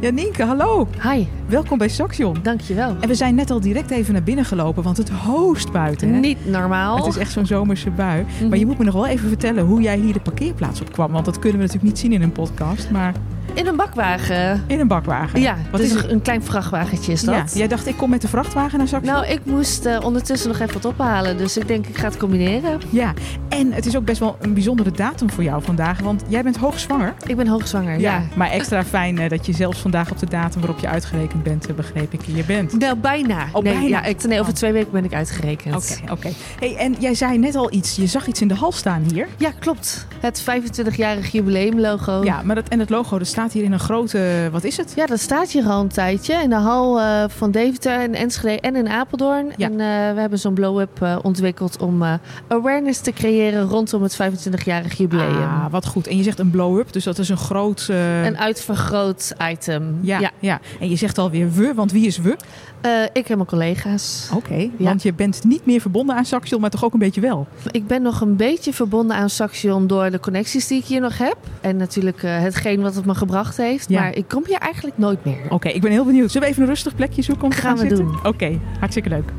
Janienke, hallo. Hi, Welkom bij Saxion. dankjewel. En we zijn net al direct even naar binnen gelopen, want het hoost buiten. Hè? Niet normaal. Het is echt zo'n zomerse bui. Mhm. Maar je moet me nog wel even vertellen hoe jij hier de parkeerplaats op kwam. Want dat kunnen we natuurlijk niet zien in een podcast, maar In een bakwagen. in een bakwagen. Ja, Wat dus is is het? een klein vrachtwagentje is Ja, dat. jij dacht, ik kom met de vrachtwagen naar Saxion. Nou, ik moest eh, ondertussen nog even wat ophalen. Dus ik denk, ik ga het combineren. Ja, en het is ook best wel een bijzondere datum voor jou vandaag, want jij bent hoogzwanger. Ik ben hoogzwanger, ja. Maar extra fijn eh, dat je zelfs vandaag op de datum waarop je uitgerekend bent, eh, begreep ik, hier bent. Nou, bijna. Oh, nee, bijna. Ja, ik, nee, over Oh. twee weken ben ik uitgerekend. Oké, oké. Hey, en jij zei net al iets, je zag iets in de hal staan hier. Ja, klopt. Het 25-jarig jubileumlogo. Ja, maar dat, en het logo, dat staat hier in een grote, wat is het? Oh. Ja, dat staat hier al een tijdje. In de hal eh, van Deventer en Enschede en in Apeldoorn. Ja. En eh, we hebben zo'n blow-up eh, ontwikkeld om eh, awareness te creëren rondom het 25-jarig jubileum. Ah, wat goed. En je zegt een blow-up, dus dat is een groot... eh, Een uitvergroot item. ja, ja. en je zegt alweer we, want wie is we? Eh, ik en mijn collega's. Oké, want je bent niet meer verbonden aan Saxion, maar toch ook een beetje wel. Ik ben nog een beetje verbonden aan Saxion door de connecties die ik hier nog heb. En natuurlijk eh, hetgeen wat het me gebracht heeft. Ja. Maar ik kom hier eigenlijk nooit meer. Oké, ik ben heel benieuwd. Zullen we even een rustig plekje zoeken om te gaan, Gaan we zitten? doen. Oké, hartstikke leuk.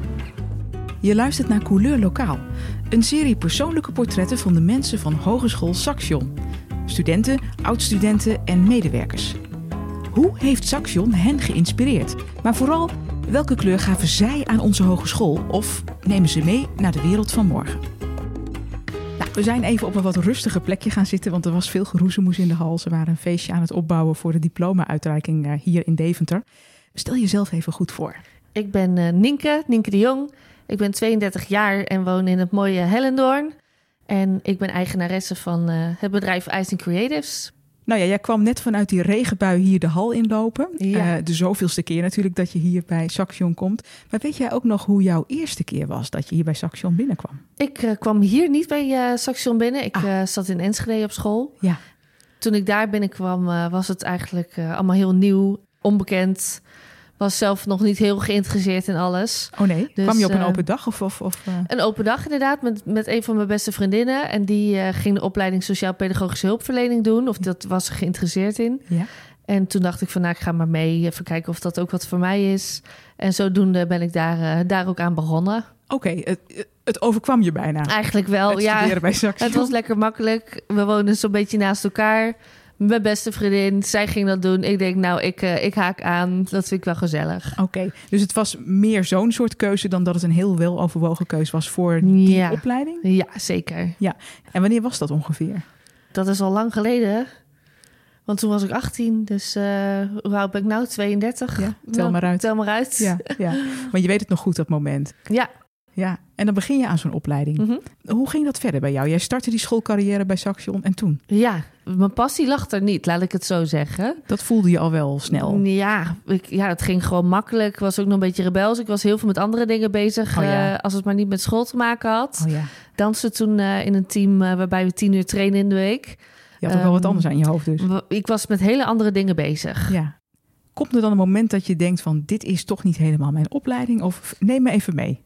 Je luistert naar Couleur Lokaal. Een serie persoonlijke portretten van de mensen van Hogeschool Saxion. Studenten, oud-studenten en medewerkers. Hoe heeft Saxion hen geïnspireerd? Maar vooral, welke kleur gaven zij aan onze hogeschool? Of nemen ze mee naar de wereld van morgen? Nou, we zijn even op een wat rustiger plekje gaan zitten, want er was veel geroezemoes in de hal. Ze waren een feestje aan het opbouwen voor de diploma-uitreiking eh, hier in Deventer. Stel jezelf even goed voor. Ik ben eh, Nienke, Nienke de Jong. Ik ben 32 jaar en woon in het mooie Hellendoorn. En ik ben eigenaresse van eh, het bedrijf Ice Creatives. Nou ja, jij kwam net vanuit die regenbui hier de hal inlopen. Ja. Eh, de zoveelste keer natuurlijk dat je hier bij Saxion komt. Maar weet jij ook nog hoe jouw eerste keer was dat je hier bij Saxion binnenkwam? Ik eh, kwam hier niet bij eh, Saxion binnen. Ik Ah. eh, zat in Enschede op school. Ja. Toen ik daar binnenkwam, eh, was het eigenlijk eh, allemaal heel nieuw, onbekend. Was zelf nog niet heel geïnteresseerd in alles. Oh nee? Dus, kwam je op een eh, open dag? Of, of, of, eh, Een open dag inderdaad, met, met een van mijn beste vriendinnen. En die eh, ging de opleiding Sociaal-Pedagogische Hulpverlening doen. Of dat was ze geïnteresseerd in. Ja. En toen dacht ik van, nou, ik ga maar mee. Even kijken of dat ook wat voor mij is. En zodoende ben ik daar, eh, daar ook aan begonnen. Oké, het, het overkwam je bijna. Eigenlijk Ah, wel, het ja. studeren bij Saxion. Het was lekker makkelijk. We woonden zo'n beetje naast elkaar. Mijn beste vriendin, zij ging dat doen. Ik denk, nou, ik, eh, ik haak aan. Dat vind ik wel gezellig. Oké, dus het was meer zo'n soort keuze dan dat het een heel weloverwogen keuze was voor die Ja. opleiding. Ja, zeker. En wanneer was dat ongeveer? Dat is al lang geleden. Want toen was ik 18, dus eh hoe oud ben ik nou? 32? Ja, tel Nou, maar uit. Tel maar uit. Ja, ja, maar je weet het nog goed, dat moment. Ja. Ja, en dan begin je aan zo'n opleiding. Mhm. Hoe ging dat verder bij jou? Jij startte die schoolcarrière bij Saxion en toen? ja, mijn passie lag er niet, laat ik het zo zeggen. Dat voelde je al wel snel. Ja, ik, ja, het ging gewoon makkelijk. Ik was ook nog een beetje rebels. Ik was heel veel met andere dingen bezig. Oh ja. eh, als het maar niet met school te maken had. Oh ja, Dansen toen eh, in een team eh, waarbij we tien uur trainen in de week. je had ook wel wat Ehm, anders aan je hoofd dus. W- Ik was met hele andere dingen bezig. Ja. Komt er dan een moment dat je denkt van dit is toch niet helemaal mijn opleiding? Of neem me even mee.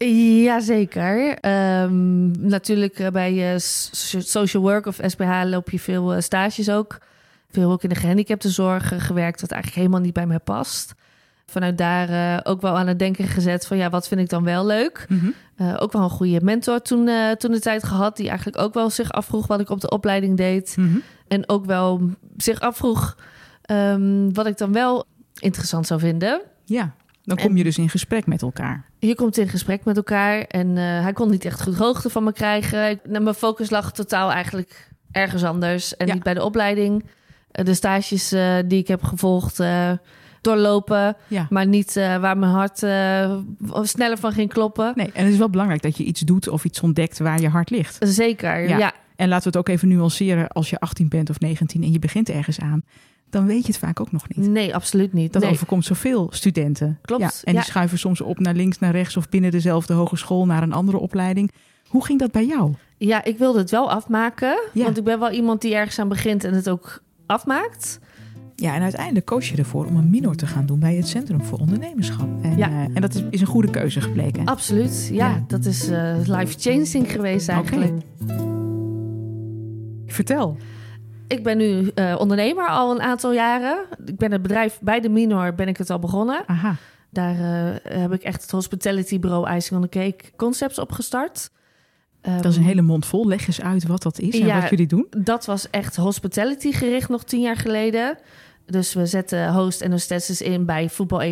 Jazeker. Ehm natuurlijk eh, bij eh, so- social work of SPH loop je veel eh, stages ook. Veel ook in de gehandicaptenzorg eh, gewerkt, wat eigenlijk helemaal niet bij mij past. Vanuit daar eh, ook wel aan het denken gezet van ja, wat vind ik dan wel leuk? Mhm, Eh, ook wel een goede mentor toen, eh, toen de tijd gehad. Die eigenlijk ook wel zich afvroeg wat ik op de opleiding deed. Mhm. En ook wel zich afvroeg ehm, wat ik dan wel interessant zou vinden. Ja, dan kom je dus in gesprek met elkaar. Je komt in gesprek met elkaar en eh, hij kon niet echt goed hoogte van me krijgen. Ik- nou, mijn focus lag totaal eigenlijk ergens anders en Ja. niet bij de opleiding. Eh, de stages eh, die ik heb gevolgd, eh, doorlopen, Ja. maar niet eh, waar mijn hart eh, sneller van ging kloppen. Nee, en het is wel belangrijk dat je iets doet of iets ontdekt waar je hart ligt. Zeker, Ja. ja. En laten we het ook even nuanceren. Als je 18 bent of 19 en je begint ergens aan, dan weet je het vaak ook nog niet. Nee, absoluut niet. Dat nee. overkomt zoveel studenten. Klopt, Ja, en die ja. schuiven soms op naar links, naar rechts of binnen dezelfde hogeschool naar een andere opleiding. Hoe ging dat bij jou? Ja, ik wilde het wel afmaken. Ja. Want ik ben wel iemand die ergens aan begint en het ook afmaakt. Ja, en uiteindelijk koos je ervoor om een minor te gaan doen bij het Centrum voor Ondernemerschap. En, Ja. Ah. eh, en dat is, is een goede keuze gebleken. Absoluut. Ja, Ja. dat is eh, life-changing geweest eigenlijk. Vertel. ik ben nu eh, ondernemer al een aantal jaren. Ik ben het bedrijf bij de Minor ben ik het al begonnen. Aha. Daar eh, heb ik echt het hospitality bureau Icing on the Cake concepts opgestart. Ehm, Dat is een hele mond vol. Leg eens uit wat dat is en Ja. wat jullie doen. Dat was echt hospitality gericht nog tien jaar geleden. Dus we zetten host en hostesses in bij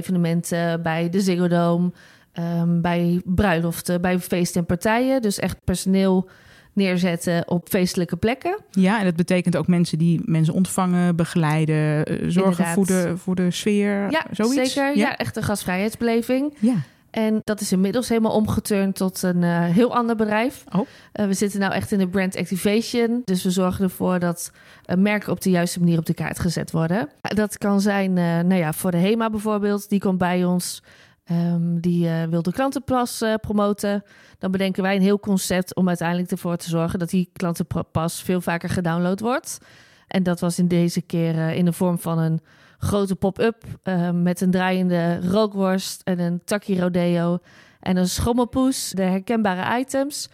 voetbalevenementen, bij de Ziggo Dome, ehm, bij bruiloften, bij feesten en partijen. Dus echt personeel neerzetten op feestelijke plekken. Ja, en dat betekent ook mensen die mensen ontvangen, begeleiden, eh, zorgen Inderdaad. voor de, voor de sfeer. Ja, Eh, zoiets. zeker. Ja. echt een gastvrijheidsbeleving. ja. En dat is inmiddels helemaal omgeturnd tot een eh, heel ander bedrijf. Oh. Eh, we zitten nou echt in de brand activation. Dus we zorgen ervoor dat eh, merken op de juiste manier op de kaart gezet worden. Eh, dat kan zijn, eh, nou ja, voor de HEMA bijvoorbeeld. Die komt bij ons. Ehm, die eh, wil de klantenplas eh, promoten. Dan bedenken wij een heel concept om uiteindelijk ervoor te zorgen dat die klantenpas veel vaker gedownload wordt. En dat was in deze keer eh, in de vorm van een grote pop-up eh, met een draaiende rookworst en een takkie rodeo en een schommelpoes, de herkenbare items.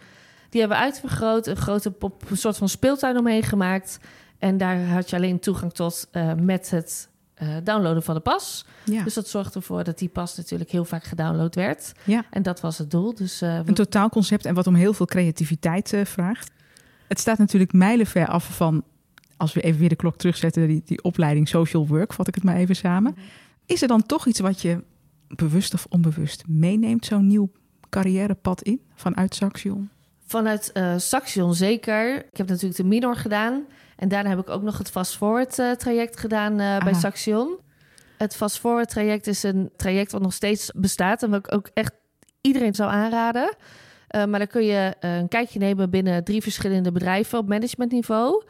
Die hebben we uitvergroot, een grote pop, een soort van speeltuin omheen gemaakt. En daar had je alleen toegang tot eh, met het eh, downloaden van de pas. ja. Dus dat zorgde ervoor dat die pas natuurlijk heel vaak gedownload werd. Ja. En dat was het doel. Dus eh, we- Een totaalconcept en wat om heel veel creativiteit eh, vraagt. Het staat natuurlijk mijlenver af van, als we even weer de klok terugzetten, die, die opleiding social work, vat ik het maar even samen. Is er dan toch iets wat je bewust of onbewust meeneemt, zo'n nieuw carrièrepad in vanuit Saxion? Vanuit eh, Saxion zeker. Ik heb natuurlijk de minor gedaan. En daarna heb ik ook nog het Fast Forward eh, traject gedaan eh, bij Aha. Saxion. Het Fast Forward traject is een traject wat nog steeds bestaat... en wat ik ook echt iedereen zou aanraden. Eh, maar dan kun je eh, een kijkje nemen binnen drie verschillende bedrijven... op managementniveau.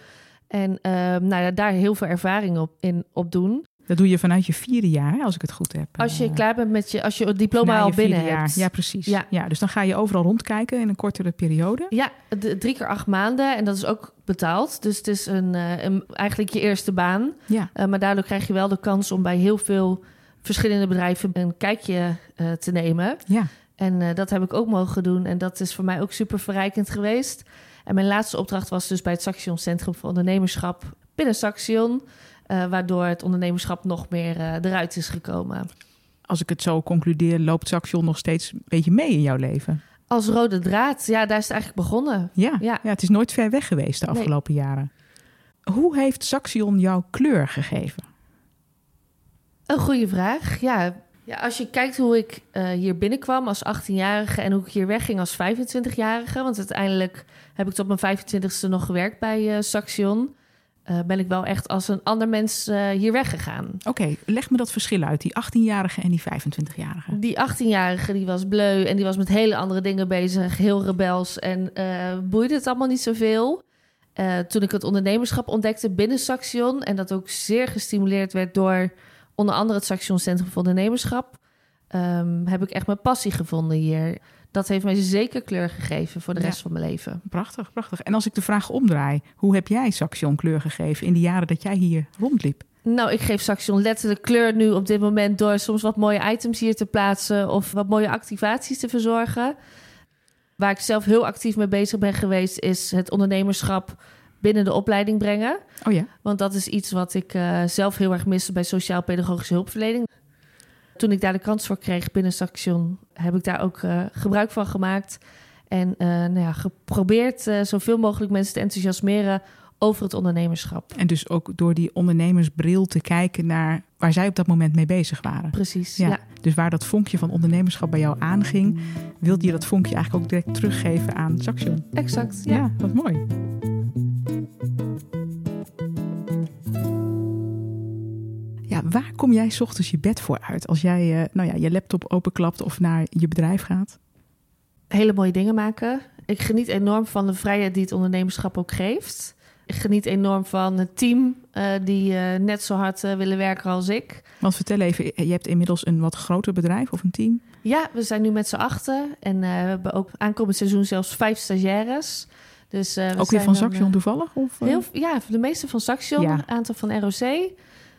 En eh, nou ja, daar heel veel ervaring op, in opdoen. Dat doe je vanuit je vierde jaar, hè, als ik het goed heb. Als Eh, je klaar bent met je... als je het diploma na al je vierde binnen jaar. hebt. Ja, precies. Ja. Ja. dus dan ga je overal rondkijken in een kortere periode. Ja, d- drie keer acht maanden en dat is ook betaald. Dus het is een, eh, een- eigenlijk je eerste baan. Ja. Eh, maar daardoor krijg je wel de kans om bij heel veel verschillende bedrijven een kijkje eh, te nemen. Ja. En eh, dat heb ik ook mogen doen en dat is voor mij ook super verrijkend geweest. En mijn laatste opdracht was dus bij het Saxion Centrum voor Ondernemerschap binnen Saxion. eh, waardoor het ondernemerschap nog meer eh, eruit is gekomen. Als ik het zo concludeer, loopt Saxion nog steeds een beetje mee in jouw leven. Als rode draad, ja, daar is het eigenlijk begonnen. Ja, ja. Ja. het is nooit ver weg geweest de Nee. afgelopen jaren. Hoe heeft Saxion jouw kleur gegeven? Een goede vraag. Ja. ja, als je kijkt hoe ik eh, hier binnenkwam als 18-jarige en hoe ik hier wegging als 25-jarige, want uiteindelijk heb ik tot mijn 25ste nog gewerkt bij eh Saxion, eh, ben ik wel echt als een ander mens eh, hier weggegaan. Oké, leg me dat verschil uit, die 18-jarige en die 25-jarige. Die 18-jarige die was bleu en die was met hele andere dingen bezig, heel rebels en eh, boeide het allemaal niet zoveel. Eh, toen ik het ondernemerschap ontdekte binnen Saxion en dat ook zeer gestimuleerd werd door onder andere het Saxion Centrum voor Ondernemerschap, ehm, heb ik echt mijn passie gevonden hier. Dat heeft mij zeker kleur gegeven voor de Ja. rest van mijn leven. Prachtig, prachtig. En als ik de vraag omdraai, hoe heb jij Saxion kleur gegeven in de jaren dat jij hier rondliep? Nou, ik geef Saxion letterlijk kleur nu op dit moment door soms wat mooie items hier te plaatsen of wat mooie activaties te verzorgen. Waar ik zelf heel actief mee bezig ben geweest, is het ondernemerschap binnen de opleiding brengen. Oh ja, Want dat is iets wat ik eh, zelf heel erg miste bij sociaal-pedagogische hulpverlening. Toen ik daar de kans voor kreeg binnen Saxion, heb ik daar ook eh, gebruik van gemaakt. En eh, nou ja, geprobeerd eh, zoveel mogelijk mensen te enthousiasmeren over het ondernemerschap. en dus ook door die ondernemersbril te kijken naar waar zij op dat moment mee bezig waren. Precies, Ja. ja. Dus waar dat vonkje van ondernemerschap bij jou aanging, wilde je dat vonkje eigenlijk ook direct teruggeven aan Saxion. exact. Ja, ja. wat mooi. Ja, waar kom jij 's ochtends je bed voor uit als jij eh, nou ja, je laptop openklapt of naar je bedrijf gaat? hele mooie dingen maken. Ik geniet enorm van de vrijheid die het ondernemerschap ook geeft. Ik geniet enorm van het team eh, die eh, net zo hard eh, willen werken als ik. Want vertel even, je hebt inmiddels een wat groter bedrijf of een team. Ja, we zijn nu met z'n achten en eh, we hebben ook aankomend seizoen zelfs vijf stagiaires. Dus, eh, we Ook weer zijn van een, Saxion toevallig? Of, eh, eh? heel, ja, de meeste van Saxion, Ja. een aantal van ROC.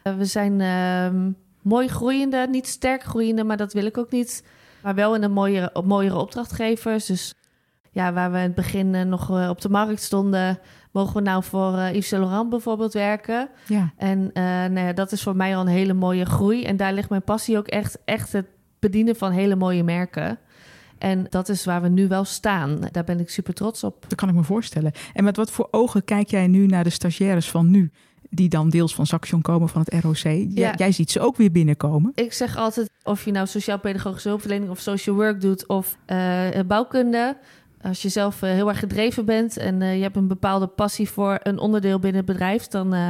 Eh, we zijn ehm, mooi groeiende, niet sterk groeiende, maar dat wil ik ook niet. Maar wel in een mooiere, op mooiere opdrachtgevers. Dus ja, waar we in het begin eh, nog eh, op de markt stonden, mogen we nou voor eh, Yves Saint Laurent bijvoorbeeld werken. Ja, En eh, nou ja, dat is voor mij al een hele mooie groei. En daar ligt mijn passie ook echt, echt het bedienen van hele mooie merken. En dat is waar we nu wel staan. Daar ben ik super trots op. dat kan ik me voorstellen. En met wat voor ogen kijk jij nu naar de stagiaires van nu, die dan deels van Saxion komen van het ROC? J- Ja. Jij ziet ze ook weer binnenkomen. Ik zeg altijd, of je nou sociaal-pedagogische hulpverlening of social work doet of eh, bouwkunde. Als je zelf eh, heel erg gedreven bent en eh, je hebt een bepaalde passie voor een onderdeel binnen het bedrijf, dan, eh,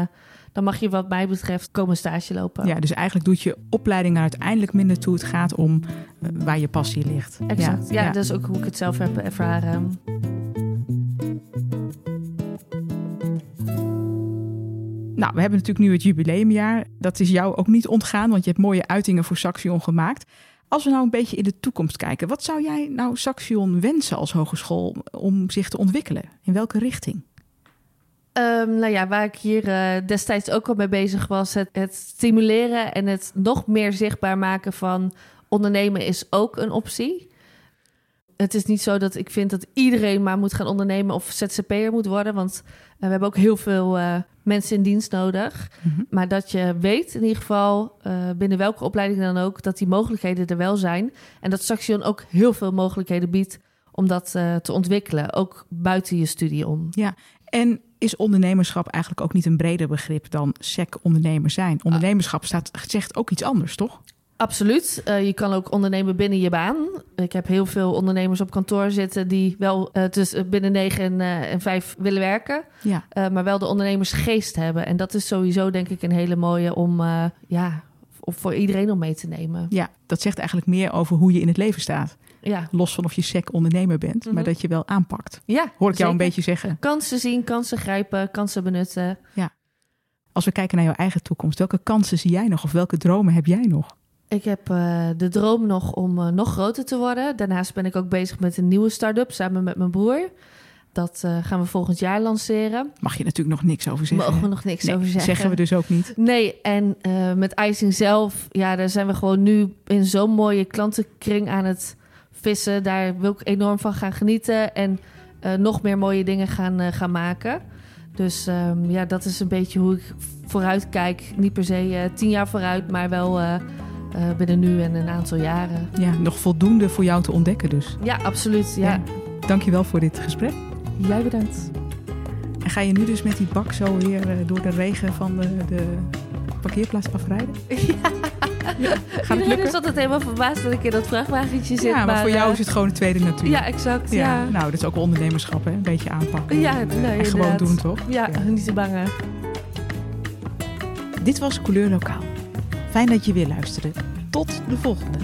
dan mag je wat mij betreft komen stage lopen. Ja, dus eigenlijk doet je opleiding er uiteindelijk minder toe. Het gaat om eh, waar je passie ligt. Exact. Ja, ja. dat is ook hoe ik het zelf heb ervaren. Nou, we hebben natuurlijk nu het jubileumjaar. Dat is jou ook niet ontgaan, want je hebt mooie uitingen voor Saxion gemaakt. Als we nou een beetje in de toekomst kijken, wat zou jij nou Saxion wensen als hogeschool om zich te ontwikkelen? In welke richting? Ehm, nou ja, waar ik hier eh, destijds ook al mee bezig was, het, het stimuleren en het nog meer zichtbaar maken van ondernemen is ook een optie. Het is niet zo dat ik vind dat iedereen maar moet gaan ondernemen of ZZP'er moet worden, want eh, we hebben ook heel veel eh, mensen in dienst nodig. Mhm. Maar dat je weet in ieder geval, eh, binnen welke opleiding dan ook, dat die mogelijkheden er wel zijn. En dat Saxion ook heel veel mogelijkheden biedt om dat eh, te ontwikkelen, ook buiten je studie om. En is ondernemerschap eigenlijk ook niet een breder begrip dan sec ondernemer zijn? Ondernemerschap staat, zegt ook iets anders, toch? Absoluut. Eh, je kan ook ondernemen binnen je baan. Ik heb heel veel ondernemers op kantoor zitten die wel eh, tussen binnen negen en, eh, en vijf willen werken, Ja. eh, maar wel de ondernemersgeest hebben. En dat is sowieso denk ik een hele mooie om, eh, ja, om voor iedereen om mee te nemen. ja, dat zegt eigenlijk meer over hoe je in het leven staat. Ja, Los van of je sec ondernemer bent, maar Mhm. dat je wel aanpakt. ja Hoor ik jou zeker. een beetje zeggen. Kansen zien, kansen grijpen, kansen benutten. Als we kijken naar jouw eigen toekomst, welke kansen zie jij nog of welke dromen heb jij nog? Ik heb eh, de droom nog om eh, nog groter te worden. Daarnaast ben ik ook bezig met een nieuwe start-up samen met mijn broer. Dat eh, gaan we volgend jaar lanceren. Mag je natuurlijk nog niks over zeggen. Mogen we hè? nog niks Nee, over zeggen. we dus ook niet. Nee, en eh, met icing zelf, ja, daar zijn we gewoon nu in zo'n mooie klantenkring aan het vissen. Daar wil ik enorm van gaan genieten en eh, nog meer mooie dingen gaan, eh, gaan maken. Dus ehm, ja, dat is een beetje hoe ik vooruit kijk. Niet per se eh, tien jaar vooruit, maar wel eh, eh, binnen nu en een aantal jaren. Ja, nog voldoende voor jou te ontdekken dus. Ja, absoluut. Ja. Ja. Dankjewel voor dit gesprek. Jij bedankt. En ga je nu dus met die bak zo weer eh, door de regen van de, de parkeerplaats afrijden? Gaat het Iedereen lukken? is altijd helemaal verbaasd dat ik in dat vrachtwagentje zit. ja, maar voor jou eh, is het gewoon de tweede natuur. Ja, exact. Ja, Ja, ja. Nou, dat is ook wel ondernemerschap, hè? Een beetje aanpakken. Ja, nee, en gewoon inderdaad. doen, toch? niet te bangen. Dit was Couleur Lokaal. Fijn dat je weer luisterde. Tot de volgende.